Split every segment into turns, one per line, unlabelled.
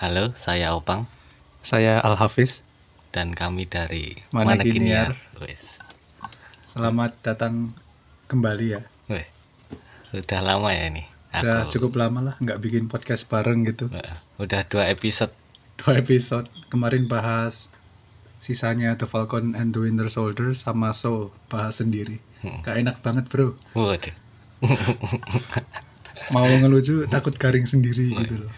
Halo, saya Opang
Saya Al Hafiz.
dan kami dari
Mana Giniar.
Wes.
Selamat datang kembali ya.
Weh. Udah lama ya ini.
Udah cukup lama lah nggak bikin podcast bareng gitu.
Wah, Udah dua episode.
Dua episode kemarin bahas sisanya The Falcon and the Winter Soldier sama So bahas sendiri.
Hmm.
Gak enak banget bro.
Waduh.
Mau ngelucu takut garing
Nah.
sendiri gitu loh.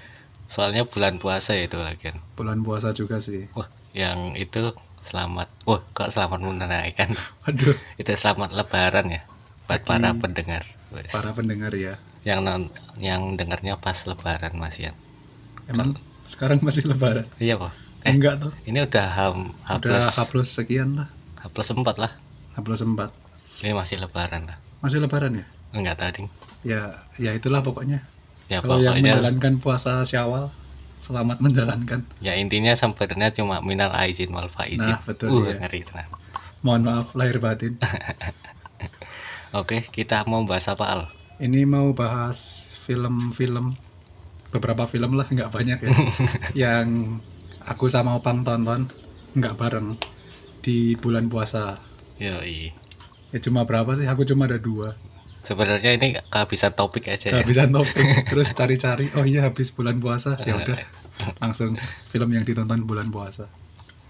Soalnya bulan puasa ya itu lagian.
Bulan puasa juga sih.
Wah, yang itu selamat. Wah, kok selamat menunaikan.
Waduh
itu selamat lebaran ya buat
Bagi
para pendengar. Wes.
Hmm. para pendengar ya.
Yang non- yang dengarnya pas lebaran Mas Ian.
Emang sekarang masih lebaran?
Iya, Pak. Nah. Eh,
Enggak tuh.
ini udah ham H
Udah
plus-
H plus sekian lah.
H plus empat lah.
H plus empat.
Ini masih lebaran lah.
Masih lebaran ya?
Enggak tahu ding.
Ya, ya itulah pokoknya.
Ya
Kalau yang
pokoknya
menjalankan puasa Syawal, selamat menjalankan.
ya intinya sebenarnya cuma minal aizin wal faizin.
Nah,
Uh,
betul, iya.
ngeri tenang.
Mohon maaf lahir batin.
Oke, kita mau bahas apa Al?
Ini mau bahas film-film beberapa film lah, nggak banyak ya. yang aku sama Opang tonton nggak bareng di bulan puasa.
Yoi.
Ya cuma berapa sih? Aku cuma ada dua.
Sebenarnya ini kehabisan topik aja ya.
Kehabisan topik, terus cari-cari. Oh iya habis bulan puasa, ya udah langsung film yang ditonton bulan puasa.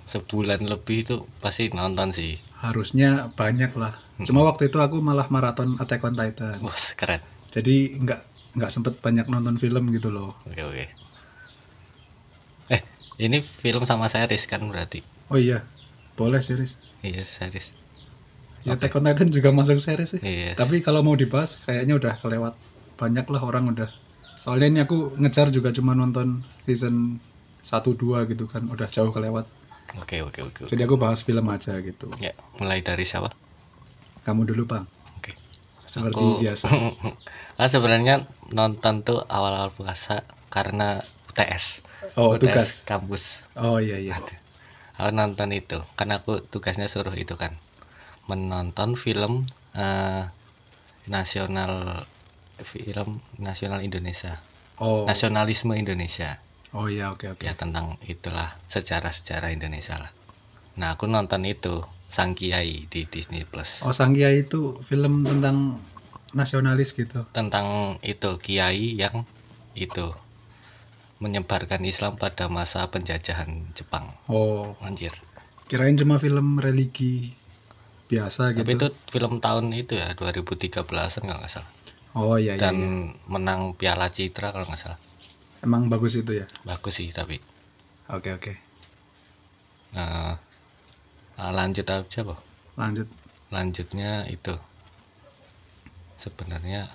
Sebulan lebih itu pasti nonton sih.
Harusnya banyak lah.
Hmm.
Cuma waktu itu aku malah maraton Attack on Titan.
Wah, keren.
jadi nggak nggak sempet banyak nonton film gitu loh
Oke, oke. Eh, ini film sama series kan berarti.
oh iya boleh series
Iya, series.
ya
Oke.
Attack on Titan juga masuk series sih
Iya.
tapi kalau mau dibahas kayaknya udah kelewat banyak lah orang udah soalnya ini aku ngejar juga cuma nonton season 1-2 gitu kan udah jauh kelewat
Oke, oke, oke. oke.
jadi aku bahas film aja gitu
Ya, mulai dari siapa?
kamu dulu bang
Oke.
seperti
Aku-
biasa
Nah, sebenarnya nonton tuh awal-awal puasa karena UTS.
oh
UTS
tugas
kampus.
oh iya iya
Aduh. Aku nonton itu karena aku tugasnya suruh itu kan menonton film eh, nasional film nasional Indonesia
oh
nasionalisme Indonesia
oh iya oke oke
ya tentang itulah sejarah-sejarah Indonesia lah nah aku nonton itu Sang Kiai di Disney Plus
oh Sang Kiai itu film tentang nasionalis gitu
tentang itu Kiai yang itu menyebarkan Islam pada masa penjajahan Jepang
oh
anjir
kirain cuma film religi biasa gitu.
Tapi itu film tahun itu ya 2013-an kalau nggak salah.
oh iya, iya,
Dan
iya.
menang Piala Citra kalau nggak salah.
Emang bagus itu ya.
Bagus sih tapi.
Oke oke.
Eh, ah, lanjut aja Boh.
Lanjut.
Lanjutnya itu sebenarnya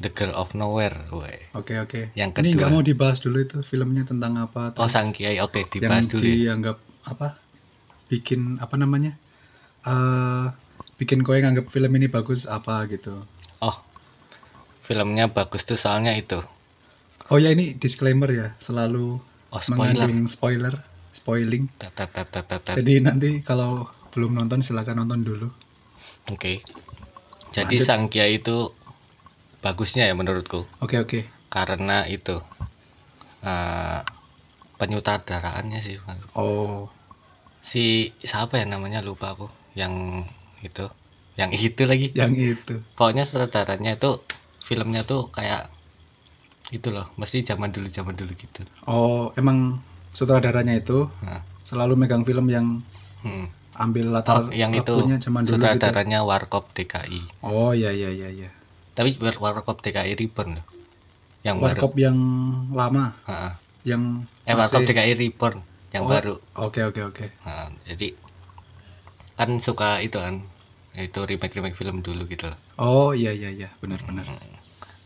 The Girl of Nowhere. Weh.
Oke oke.
Yang
Ini
kedua.
nggak mau dibahas dulu itu filmnya tentang apa?
Oh
terus
Sang Kiai oke
yang
dibahas dulu. ya.
dianggap apa? Bikin apa namanya? eh bikin kowe nganggap film ini bagus apa gitu.
Oh filmnya bagus tuh soalnya itu.
Oh ya ini disclaimer ya, selalu
Oh spoiler.
mengandung spoiler, spoiling.
Tat, tat, tat, tat, tat, tat.
Jadi nanti kalau belum nonton silakan nonton dulu.
Oke. Jadi
Lanjut.
Sang Kiai itu bagusnya ya menurutku.
Oke oke.
karena itu eh penyutradaraannya sih Bang.
Oh,
si siapa ya namanya lupa aku yang itu yang itu lagi
yang itu.
pokoknya sutradaranya itu filmnya tuh kayak itu loh mesti zaman dulu zaman dulu gitu
Oh, emang sutradaranya itu
Nah,
selalu megang film yang
hmm. Oh,
ambil latar
yang itu
waktunya zaman dulu gitu.
sutradaranya Warkop DKI
Oh, iya iya iya iya.
tapi ber- Warkop DKI Reborn loh yang baru
Warkop yang lama,
Heeh.
yang
eh Warkop
masih-
DKI Reborn yang
Oh,
baru
Oke oke oke.
Nah, jadi kan suka itu kan itu remake remake film dulu gitu loh.
Oh, iya iya iya, benar benar.
Hmm.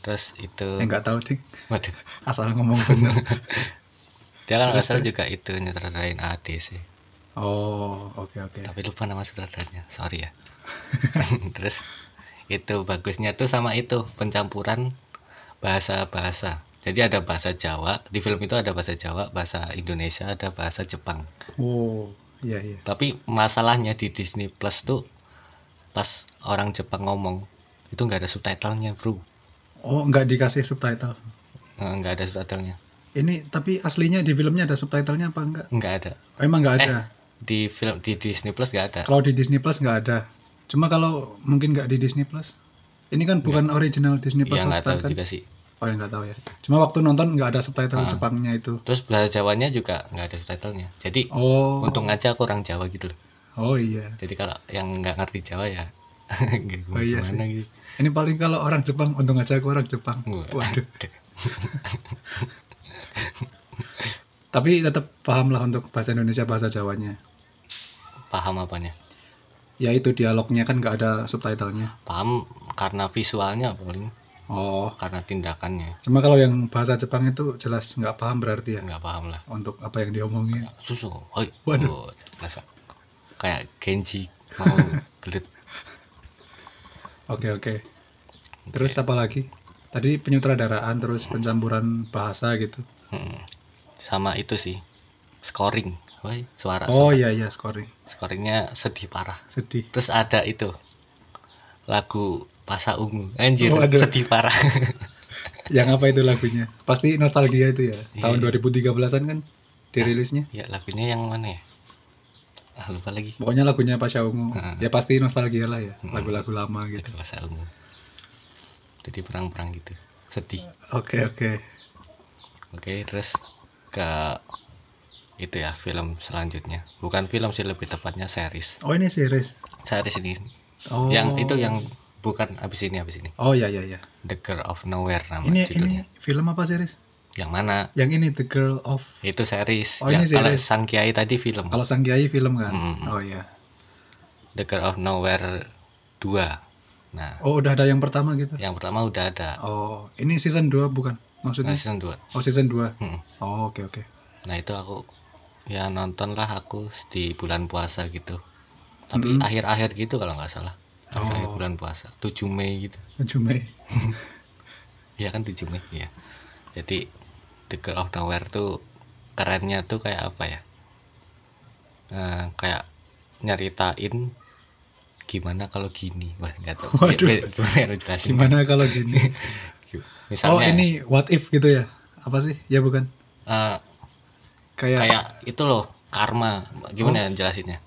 terus
Eh,
itu
enggak tahu, Dik.
waduh
Asal ngomong benar.
dia kan nggak
Terus,
salah
terus.
juga itu nyutradarain ADC
oh, oke oke.
tapi lupa nama sutradaranya sorry ya terus itu bagusnya tuh sama itu pencampuran bahasa bahasa jadi ada bahasa Jawa di film itu ada bahasa Jawa bahasa Indonesia ada bahasa Jepang
Oh, iya iya.
tapi masalahnya di Disney Plus tuh pas orang Jepang ngomong itu nggak ada subtitlenya bro
Oh, enggak dikasih subtitle.
Eh, nggak ada subtitlenya
Ini tapi aslinya di filmnya ada subtitlenya apa enggak?
nggak ada
Oh, emang nggak
Eh.
ada.
di film di Disney Plus nggak ada
Ya. Kalau di Disney Plus nggak ada. Cuma kalau mungkin nggak di Disney Plus. Ini kan bukan original Disney Plus
ya nggak
Hotstar
tahu
kan?
juga sih
Oh ya nggak tahu ya. Cuma waktu nonton nggak ada subtitle
Ah.
Jepangnya itu.
terus bahasa Jawanya juga nggak ada subtitlenya jadi
Oh.
untung aja aku orang Jawa gitu loh
Oh iya.
jadi kalau yang nggak ngerti Jawa ya nggak
Oh, iya
gimana gitu
Ini paling kalau orang Jepang untung aja aku orang Jepang.
Wah.
Waduh. Tapi tetap paham lah untuk bahasa Indonesia bahasa Jawanya.
paham apanya
Ya itu dialognya kan nggak ada subtitlenya.
paham karena visualnya paling
Oh.
karena tindakannya
Cuma kalau yang bahasa Jepang itu jelas nggak paham berarti ya
nggak paham lah
untuk apa yang diomongin.
susu oi
Waduh.
Oh, rasa kayak Genji mau gelut
Oke oke. Terus apa lagi? Tadi penyutradaraan terus pencampuran bahasa gitu.
Mm. sama itu sih scoring Woi, suara
Oh iya iya scoring.
scoringnya sedih parah
Sedih.
terus ada itu lagu Pasa Ungu anjir
Waduh.
sedih parah
Yang apa itu lagunya? Pasti nostalgia itu ya. Tahun
Iya.
2013-an kan dirilisnya.
ya lagunya yang mana ya ah, lupa lagi
Pokoknya lagunya Pasha Ungu.
Heeh.
Ya pasti nostalgia lah ya. Lagu-lagu lama gitu.
lagu Pasa Ungu jadi perang-perang gitu sedih
Ya. Oke oke.
Oke, terus ke itu ya film selanjutnya. Bukan film sih lebih tepatnya series.
Oh ini series.
Series ini
Oh.
yang itu yang bukan abis ini abis ini.
Oh iya iya iya.
The Girl of Nowhere nama
Ini
judulnya.
ini film apa series?
Yang mana?
Yang ini The Girl of
Itu series.
Oh,
yang
ini
kalau
series.
Sang Kiai tadi film.
kalau Sang Kiai film kan?
Mm-mm.
Oh iya.
The Girl of Nowhere 2. Nah,
Oh udah ada yang pertama gitu.
yang pertama udah ada.
Oh, ini season 2 bukan?
Nah,
Maksudnya?
season Hmm. 2.
Oh, season 2. Oh, oke oke.
Nah, itu aku ya nonton lah aku di bulan puasa gitu. Tapi
Mm-mm.
akhir-akhir gitu kalau nggak salah. Akhir-akhir
Oh.
bulan puasa, 7 Mei gitu.
Cuma
Iya kan 7 Mei ya. Jadi The Girl of Nowhere tuh kerennya tuh kayak apa ya? Eh, kayak nyeritain gimana kalau gini. Wah, nggak tahu.
Waduh.
Be- be- Gimana ya jelasin? Gitu.
gimana kalau gini?
Misalnya
Oh, ini what if gitu ya? Apa sih? Ya bukan.
eh,
Kayak,
kayak itu loh karma. Gimana
Oh.
ya jelasinnya?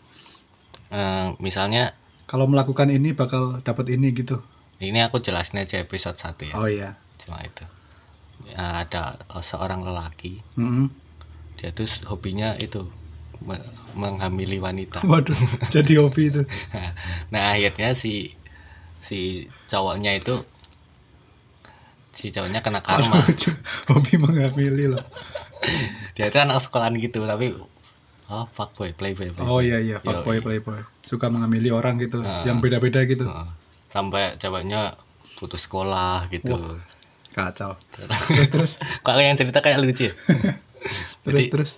Eh, misalnya
kalau melakukan ini bakal dapat ini gitu.
ini aku jelasin aja episode 1 ya.
Oh iya.
Cuma itu. Ya, ada eh, seorang lelaki
Mm-mm.
dia tuh hobinya itu me- menghamili wanita.
Waduh, jadi hobi itu.
Nah akhirnya si si cowoknya itu si cowoknya kena karma.
hobi menghamili loh.
Dia itu anak sekolahan gitu tapi oh fuckboy playboy. playboy.
Oh iya iya,
Yoi.
fuckboy playboy. Suka menghamili orang gitu,
Ah.
yang beda-beda gitu.
Heeh. Sampai cowoknya putus sekolah gitu.
Kacau. Terus terus
Kalau yang cerita kayak lucu. ya?
terus
Jadi-
terus.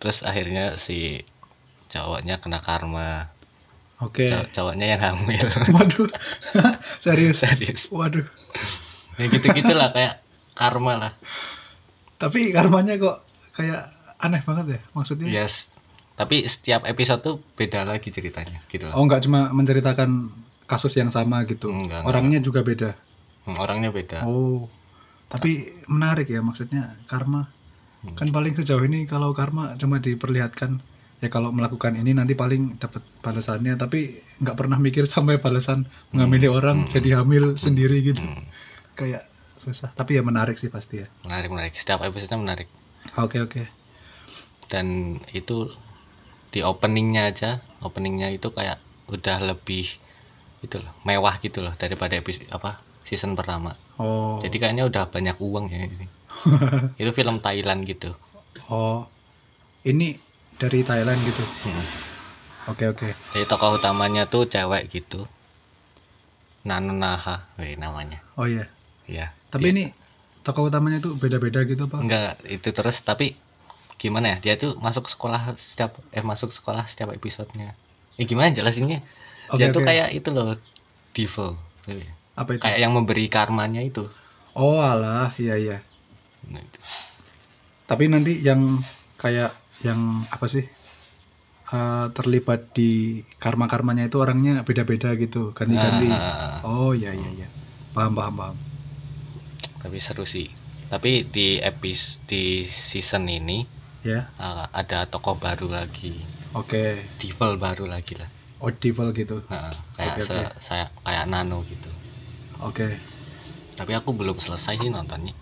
Terus akhirnya si cowoknya kena karma.
Oke.
Cow- cowoknya yang hamil.
Waduh. Serius.
Serius.
Waduh.
Ya gitu-gitulah kayak karma lah.
Tapi karmanya kok kayak aneh banget ya maksudnya.
Yes. Tapi setiap episode tuh beda lagi ceritanya gitu lah.
Oh, nggak cuma menceritakan kasus yang sama gitu.
Enggak, enggak.
Orangnya juga beda.
Hmm, Orangnya beda.
Oh. Tapi menarik ya maksudnya karma.
Hmm.
Kan paling sejauh ini kalau karma cuma diperlihatkan ya kalau melakukan ini nanti paling dapat balasannya tapi nggak pernah mikir sampai balasan mengamili orang jadi hamil sendiri gitu.
Hmm.
Kayak susah. Tapi ya menarik sih pasti ya.
menarik menarik setiap episode menarik
Oke, oke.
dan itu di openingnya aja openingnya itu kayak udah lebih itu loh mewah gitu loh daripada episode apa season pertama
Oh.
jadi kayaknya udah banyak uang ya ini itu film Thailand gitu
Oh. Ini dari Thailand gitu.
Hmm.
Oke, oke.
jadi tokoh utamanya tuh cewek gitu Nanunaha weh, namanya
Oh iya.
ya
Tapi ini tokoh utamanya itu beda-beda gitu apa?
enggak itu terus tapi gimana ya dia tuh masuk sekolah setiap eh masuk sekolah setiap episodenya eh gimana jelasinnya
Oke,
dia tuh
oke.
kayak Ya, itu loh devil
Apa itu?
kayak yang memberi karmanya itu
Oh alah, iya iya.
Nah, itu.
Tapi nanti yang kayak yang apa sih? Eh, terlibat di karma-karmanya itu orangnya beda-beda gitu, ganti-ganti.
Ah, ah, ah.
Oh iya iya iya. Paham paham paham.
tapi seru sih Tapi di episode di season ini
ya
eh, ada tokoh baru lagi,
oke
devil baru lagi lah.
audible gitu
Nah, kayak
Oke,
se- saya kayak Nano gitu.
oke
Tapi aku belum selesai sih nontonnya.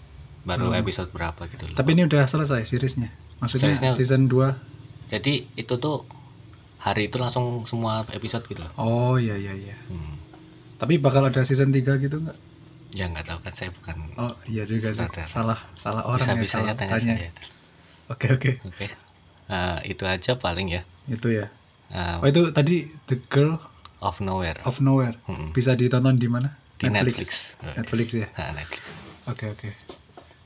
Baru
Belum.
episode berapa gitu loh.
Hmm. tapi ini udah selesai seriesnya maksudnya
Seriesnya-
season 2
Jadi itu tuh hari itu langsung semua episode gitu loh.
oh iya iya iya
Hmm.
tapi bakal ada season 3 gitu nggak
Ya nggak tahu kan saya bukan
oh iya juga sih
Saudara.
salah salah
bisa
orang
bisanya
ya kalau
tanya,
tanya
saya.
oke oke
Oke. Eh, itu aja paling ya.
itu ya
Eh,
oh itu tadi the girl
of nowhere.
of nowhere
Mm-mm.
bisa ditonton di mana
Hmm. Di Netflix. Oh, yes.
Netflix ya
Nah, Netflix.
oke oke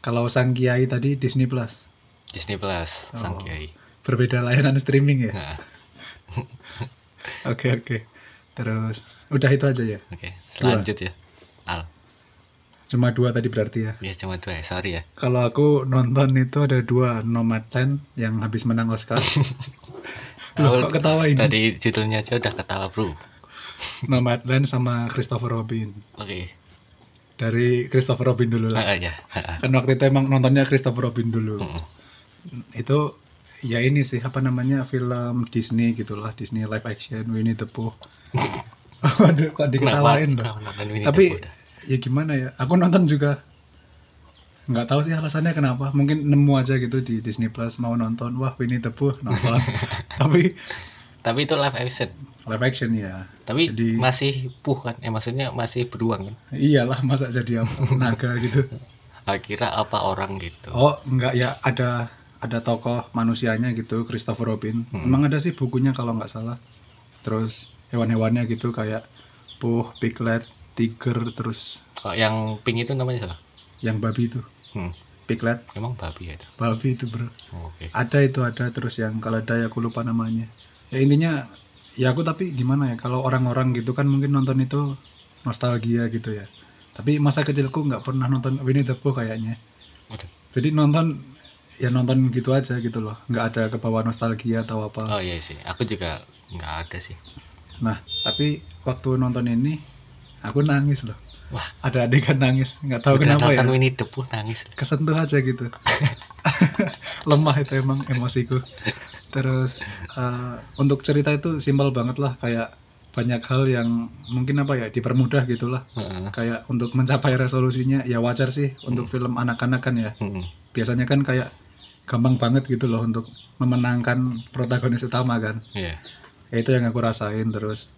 kalau sang kiai tadi Disney Plus
Disney Plus, Sang
Oh.
Kiai.
berbeda layanan streaming ya
Nah,
oke oke terus udah itu aja ya
Oke, lanjut ya. Al,
cuma dua tadi berarti ya
ya cuma dua ya, sorry ya.
Kalau aku nonton itu ada dua Nomadland yang habis menang Oscar. Loh,
Awal
kok ketawa ini?
Tadi judulnya aja udah ketawa bro.
Nomadland sama Christopher Robin.
Oke,
Dari Christopher Robin dulu lah.
Ah, ya. Ah, ah.
Kan waktu itu emang nontonnya Christopher Robin dulu.
Mm-mm.
Itu ya ini sih apa namanya film Disney gitulah, Disney live action Winnie the Pooh. Waduh, kok diketawain
Kenapa-
loh.
kenapa nonton Winnie the
Tapi
Pooh dah?
ya gimana ya? Aku nonton juga nggak tahu sih alasannya kenapa mungkin nemu aja gitu di Disney Plus mau nonton wah Winnie the Pooh nonton tapi
tapi itu live action.
live action ya
Tapi
Jadi-
masih puh kan? Eh maksudnya masih beruang kan?
iyalah masa jadi apa, naga gitu
Ah, Kira apa orang gitu?
oh enggak ya ada ada tokoh manusianya gitu Christopher Robin emang ada sih bukunya kalau nggak salah terus hewan-hewannya gitu kayak puh piglet tiger terus
Kalau yang pink itu namanya siapa?
yang babi itu
Hmm,
piglet
emang babi ya itu.
babi itu bro
Oh, Oke.
ada itu ada terus yang keledai aku lupa namanya ya intinya ya aku tapi gimana ya kalau orang-orang gitu kan mungkin nonton itu nostalgia gitu ya tapi masa kecilku nggak pernah nonton Winnie the Pooh kayaknya
Waduh.
jadi nonton ya nonton gitu aja gitu loh nggak ada kebawa nostalgia atau apa
Oh iya sih, aku juga nggak ada sih.
nah tapi waktu nonton ini aku nangis loh
Wah.
ada adegan nangis nggak tahu
Udah
kenapa ya
nonton Winnie the Pooh nangis.
kesentuh aja gitu lemah itu emang emosiku terus eh, untuk cerita itu simpel banget lah kayak banyak hal yang mungkin apa ya dipermudah gitulah
Heeh.
kayak untuk mencapai resolusinya ya wajar sih untuk
Hmm.
film anak-anak kan ya
Heeh.
biasanya kan kayak gampang banget gitu loh untuk memenangkan protagonis utama kan
Iya.
Ya, itu yang aku rasain terus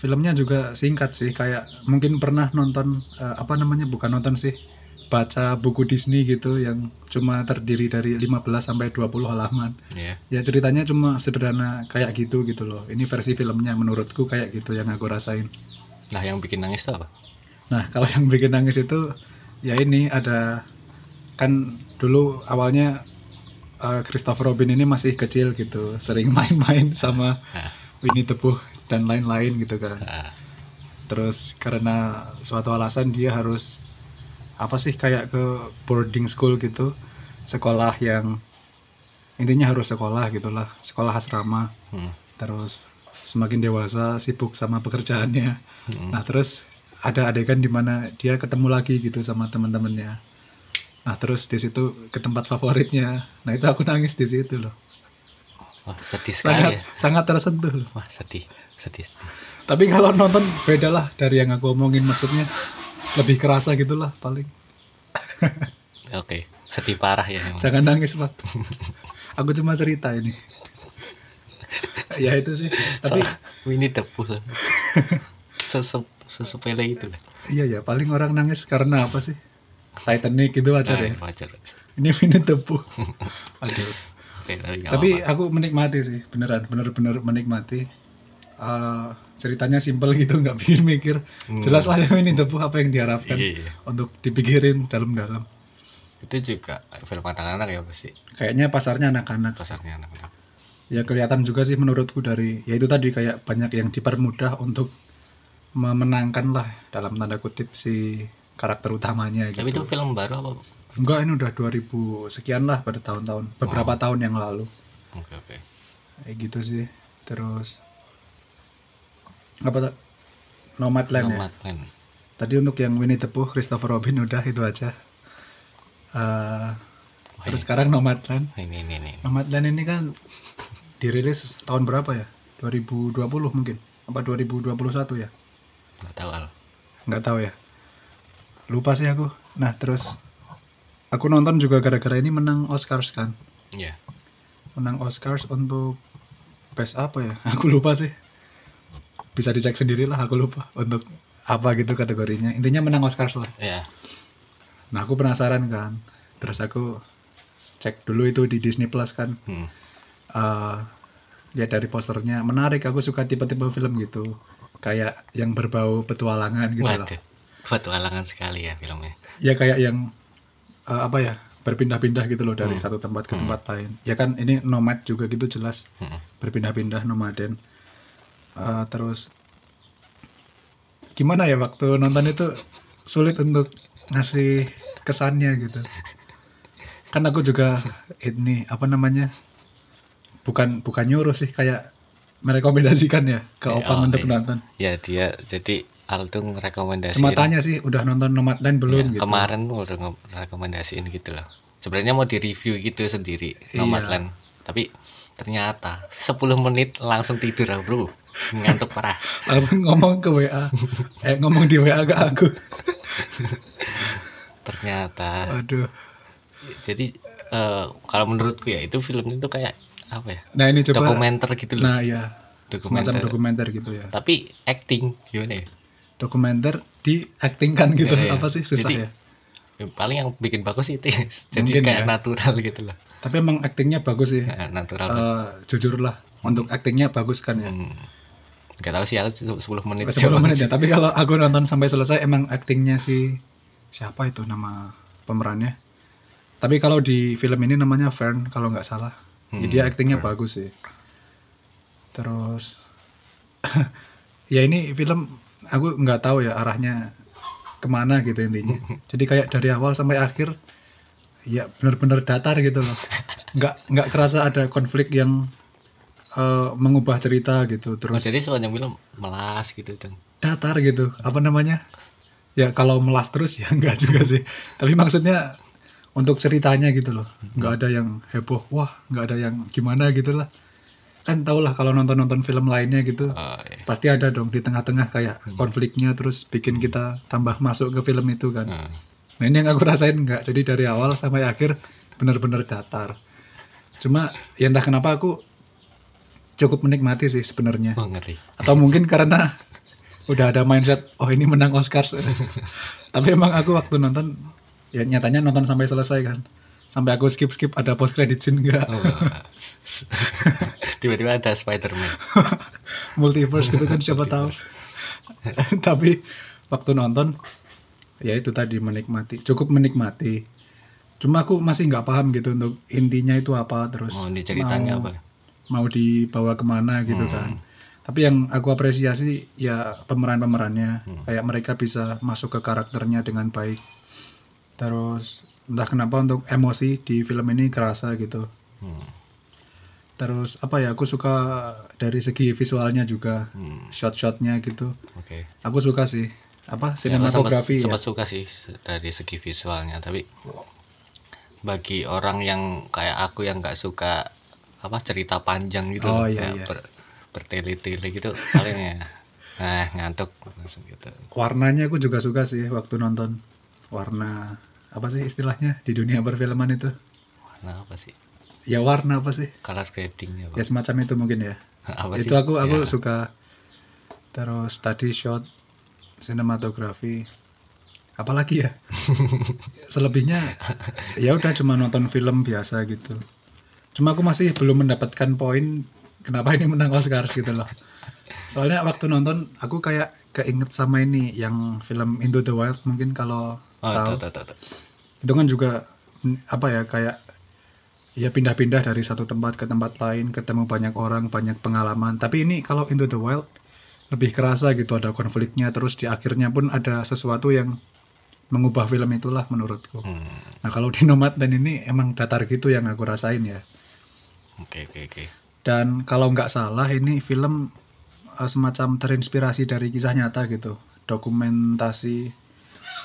filmnya juga singkat sih kayak mungkin pernah nonton eh, apa namanya bukan nonton sih baca buku Disney gitu yang cuma terdiri dari 15 sampai 20 halaman
Iya.
ya ceritanya cuma sederhana kayak gitu gitu loh ini versi filmnya menurutku kayak gitu yang aku rasain
Nah, yang bikin nangis itu apa?
Nah, kalau yang bikin nangis itu ya ini ada kan dulu awalnya eh, Christopher Robin ini masih kecil gitu, sering main-main sama
Nah.
Winnie the Pooh dan lain-lain gitu kan.
Ah,
Terus karena suatu alasan dia harus apa sih kayak ke boarding school gitu, sekolah yang intinya harus sekolah gitulah, sekolah asrama.
hmm.
Terus semakin dewasa sibuk sama pekerjaannya.
Hmm.
Nah terus ada adegan di mana dia ketemu lagi gitu sama teman-temannya. Nah terus di situ ke tempat favoritnya. Nah itu aku nangis di situ loh.
Wah, sedih sekali
Sangat
ya.
sangat tersentuh loh.
Wah, sedih. Sedih. sedih.
Tapi kalau nonton beda lah dari yang aku omongin maksudnya lebih kerasa gitulah paling.
Oke, sedih parah ya emang.
Jangan nangis pak. aku cuma cerita ini. ya itu sih. Tapi
Soal Winnie the Pooh. Sesep sesepele itu lah.
iya ya paling orang nangis karena apa sih? Titanic gitu
Ah,
aja deh.
wajar.
Ini Winnie the Pooh. Aduh.
Oke, tapi nggak
tapi
apa-apa.
aku menikmati sih beneran bener-bener menikmati Eh, ceritanya simpel gitu nggak bikin mikir
Hmm.
jelas lah yang ini tepuh apa yang diharapkan
Iya, iya.
untuk dipikirin dalam-dalam
Itu juga film anak-anak ya pasti
kayaknya pasarnya anak-anak
pasarnya anak-anak.
ya kelihatan juga sih menurutku dari ya itu tadi kayak banyak yang dipermudah untuk memenangkan lah dalam tanda kutip si karakter utamanya gitu
Tapi itu film baru apa?
enggak ini udah 2000 sekian lah pada tahun-tahun beberapa tahun yang lalu
Oke, oke.
kayak gitu sih terus apa tuh? Nomadland ya
Nomadland.
tadi untuk yang Winnie the Pooh Christopher Robin udah itu aja eh,
Wah, iya.
terus
ini-
sekarang Nomadland
ini ini ini.
Nomadland ini kan dirilis tahun berapa ya 2020 mungkin apa 2021 ya
Nggak tahu al.
nggak tahu ya lupa sih aku nah terus aku nonton juga gara-gara ini menang Oscars kan
Iya.
menang Oscars untuk best apa ya aku lupa sih bisa dicek sendirilah aku lupa untuk apa gitu kategorinya intinya menang Oscars lah
Iya.
nah aku penasaran kan terus aku cek dulu itu di Disney Plus kan
Hmm.
eh lihat dari posternya menarik aku suka tipe-tipe film gitu kayak yang berbau petualangan gitu lah
Waduh. Petualangan sekali ya filmnya.
ya kayak yang eh, apa ya berpindah-pindah gitu loh dari
Hmm.
satu tempat ke
Hmm.
tempat lain ya kan ini nomad juga gitu jelas
Hmm.
berpindah-pindah nomaden Eh, terus gimana ya waktu nonton itu sulit untuk ngasih kesannya gitu kan aku juga ini apa namanya bukan bukan nyuruh sih kayak merekomendasikan ya ke
Eh,
opang
oh, iya.
untuk
iya.
nonton
Ya dia jadi Al tuh rekomendasi.
cuma tanya sih udah nonton Nomadland belum
Iya,
gitu
Kemarin udah nge- rekomendasiin gitu loh. Sebenarnya mau di-review gitu sendiri
Iya.
Nomadland. Tapi ternyata 10 menit langsung tidur ah, bro ngantuk parah
langsung ngomong ke WA eh ngomong di WA ke aku
ternyata
aduh
jadi eh, kalau menurutku ya itu film itu kayak apa ya
nah ini coba
dokumenter gitu loh
nah ya
dokumenter
semacam dokumenter gitu ya
tapi acting gimana ya
dokumenter di acting kan gitu
Iya, iya.
apa sih susah
Jadi-
ya
Ya, paling yang bikin bagus itu ya. jadi
Mungkin
kayak
ya.
natural gitu loh
tapi emang actingnya bagus sih
Ya, natural
Eh, jujur lah untuk actingnya bagus kan ya
Hmm. nggak tahu sih aku se- 10 menit doang
Sebelum menit ya
sih.
tapi kalau aku nonton sampai selesai emang actingnya si siapa itu nama pemerannya tapi kalau di film ini namanya Fern kalau nggak salah
Hmm,
jadi actingnya
Fern.
bagus sih terus ya ini film aku nggak tahu ya arahnya kemana gitu intinya
Hmm.
jadi kayak dari awal sampai akhir ya benar-benar datar gitu loh nggak nggak kerasa ada konflik yang eh, mengubah cerita
Oh,
gitu terus
jadi sepanjang film melas gitu dong
datar gitu apa namanya ya kalau melas terus ya enggak juga sih tapi maksudnya untuk ceritanya gitu loh nggak ada yang heboh wah nggak ada yang gimana gitu lah kan tau lah kalau nonton nonton film lainnya gitu
Oh, iya.
pasti ada dong di tengah-tengah kayak konfliknya terus bikin kita tambah masuk ke film itu kan
Hmm.
Nah ini yang aku rasain nggak. Jadi dari awal sampai akhir benar-benar datar. Cuma ya entah kenapa aku cukup menikmati sih sebenarnya.
Oh, ngeri
Atau mungkin karena udah ada mindset, oh ini menang Oscars. Tapi emang aku waktu nonton, ya nyatanya nonton sampai selesai kan. Sampai aku skip-skip ada post credit scene nggak,
Oh. tiba-tiba ada Spider-Man
multiverse gitu kan siapa tahu. Tapi waktu nonton, ya itu tadi menikmati, cukup menikmati. Cuma aku masih nggak paham gitu untuk intinya itu apa terus.
mau Oh, ini ceritanya
mau-
apa
mau dibawa kemana gitu
Hmm.
kan. Tapi yang aku apresiasi ya pemeran-pemerannya,
Hmm.
kayak mereka bisa masuk ke karakternya dengan baik. Terus entah kenapa untuk emosi di film ini kerasa gitu.
Hmm.
Terus apa ya aku suka dari segi visualnya juga,
Hmm.
shot-shotnya gitu.
Oke.
Aku suka sih
Ya, aku
apa
sempat
sinematografi ya.
sempat suka sih dari segi visualnya, tapi bagi orang yang kayak aku yang nggak suka apa cerita panjang gitu, loh,
Oh, iya,
kayak
iya.
ber- bertele-tele gitu paling ya. Nah, ngantuk langsung gitu.
Warnanya aku juga suka sih waktu nonton. Warna apa sih istilahnya di dunia perfilman itu?
Warna apa sih?
Ya warna apa sih?
Color gradingnya apa?
Ya semacam itu mungkin ya.
Apa
itu
sih?
aku aku
Ya,
suka terus tadi shot sinematografi apalagi ya selebihnya ya udah cuma nonton film biasa gitu cuma aku masih belum mendapatkan poin kenapa ini menang Oscars gitu loh soalnya waktu nonton aku kayak keinget sama ini yang film Into the Wild mungkin kalau
Oh,
tahu
tuh, tuh, tuh, tuh.
itu kan juga mm, apa ya kayak ya pindah-pindah dari satu tempat ke tempat lain ketemu banyak orang banyak pengalaman tapi ini kalau Into the Wild lebih kerasa gitu ada konfliknya terus di akhirnya pun ada sesuatu yang mengubah film itulah menurutku
Hmm,
nah kalau di Nomadland ini emang datar gitu yang aku rasain ya
Oke, oke, oke.
dan kalau nggak salah ini film eh, semacam terinspirasi dari kisah nyata gitu dokumentasi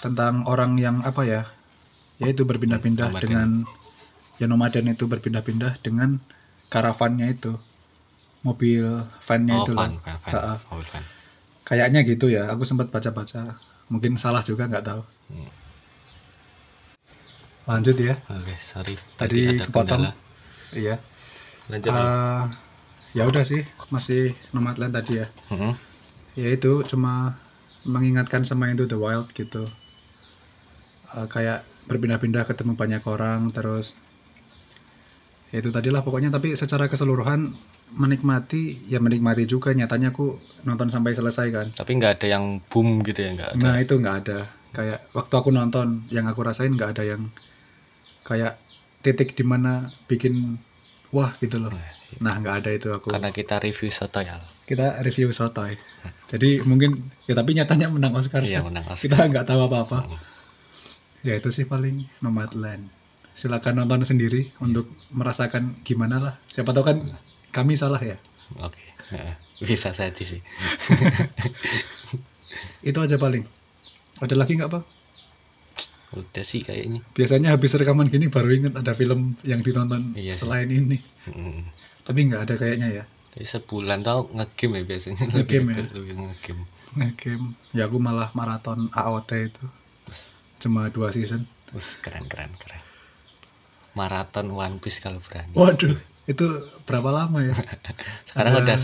tentang orang yang apa ya yaitu berpindah-pindah
Nomaden.
dengan ya nomaden itu berpindah-pindah dengan karavannya itu mobil vannya
Oh,
itu loh.
fan, fan, fan.
Ha-ha.
Oh, fan.
kayaknya gitu ya aku sempat baca-baca mungkin salah juga nggak tahu
Hmm.
lanjut ya
Oke, sorry.
tadi kepotong
kendala.
iya
Lanjut. Al.
Ah, ya udah sih masih nomadland tadi ya
Mm-mm.
ya itu cuma mengingatkan sama Into the Wild gitu Eh, kayak berpindah-pindah ketemu banyak orang terus ya itu tadilah pokoknya tapi secara keseluruhan menikmati ya menikmati juga nyatanya aku nonton sampai selesai kan
Tapi nggak ada yang boom gitu ya, nggak ada.
nah itu nggak ada kayak waktu aku nonton yang aku rasain nggak ada yang kayak titik dimana bikin wah gitu loh
Nah,
nah nggak ada itu aku
Karena kita review soto ya. Al.
kita review sotoy jadi mungkin ya tapi nyatanya menang Oscar
Iya,
sih.
menang Oscar.
kita nggak tahu apa-apa
Mm.
ya itu sih paling Nomadland silakan nonton sendiri untuk merasakan gimana lah siapa tahu kan kami salah ya
Oke. Heeh. Bisa saja sih.
itu aja paling ada lagi nggak pak
Udah sih kayaknya.
biasanya habis rekaman gini baru inget ada film yang ditonton
Iya sih.
selain ini
Mm.
tapi nggak ada kayaknya ya
Jadi sebulan tau ngegame ya biasanya.
Nge-game
Lebih-
ya?
Lebih ngegame.
game ya aku malah maraton AOT itu cuma dua season
Wih, keren keren keren. Maraton One Piece kalau berani.
waduh itu berapa lama ya
Sekarang
ada-
udah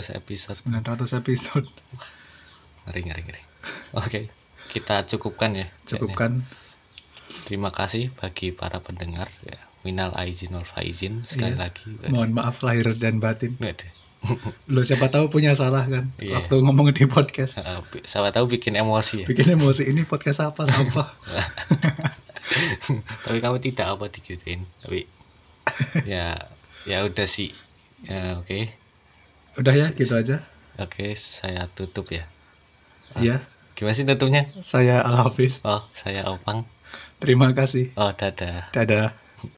900 episode.
900 episode
Ngeri ngeri ngeri. Oke. Kita cukupkan ya. kayaknya.
cukupkan
Terima kasih bagi para pendengar ya. Minal aizin wal faizin sekali
Iya.
lagi.
mohon maaf lahir dan batin
Waduh.
lo siapa tahu punya salah kan
Iya.
waktu ngomong di podcast
Eh, bi- Siapa tahu bikin emosi ya.
bikin emosi ini podcast apa sampah
tapi kamu tidak apa digituin tapi ya ya udah sih Ya, oke
udah ya gitu aja
oke saya tutup ya
ya
gimana sih tutupnya
saya Al Hafiz
oh saya opang
terima kasih
oh dadah
dadah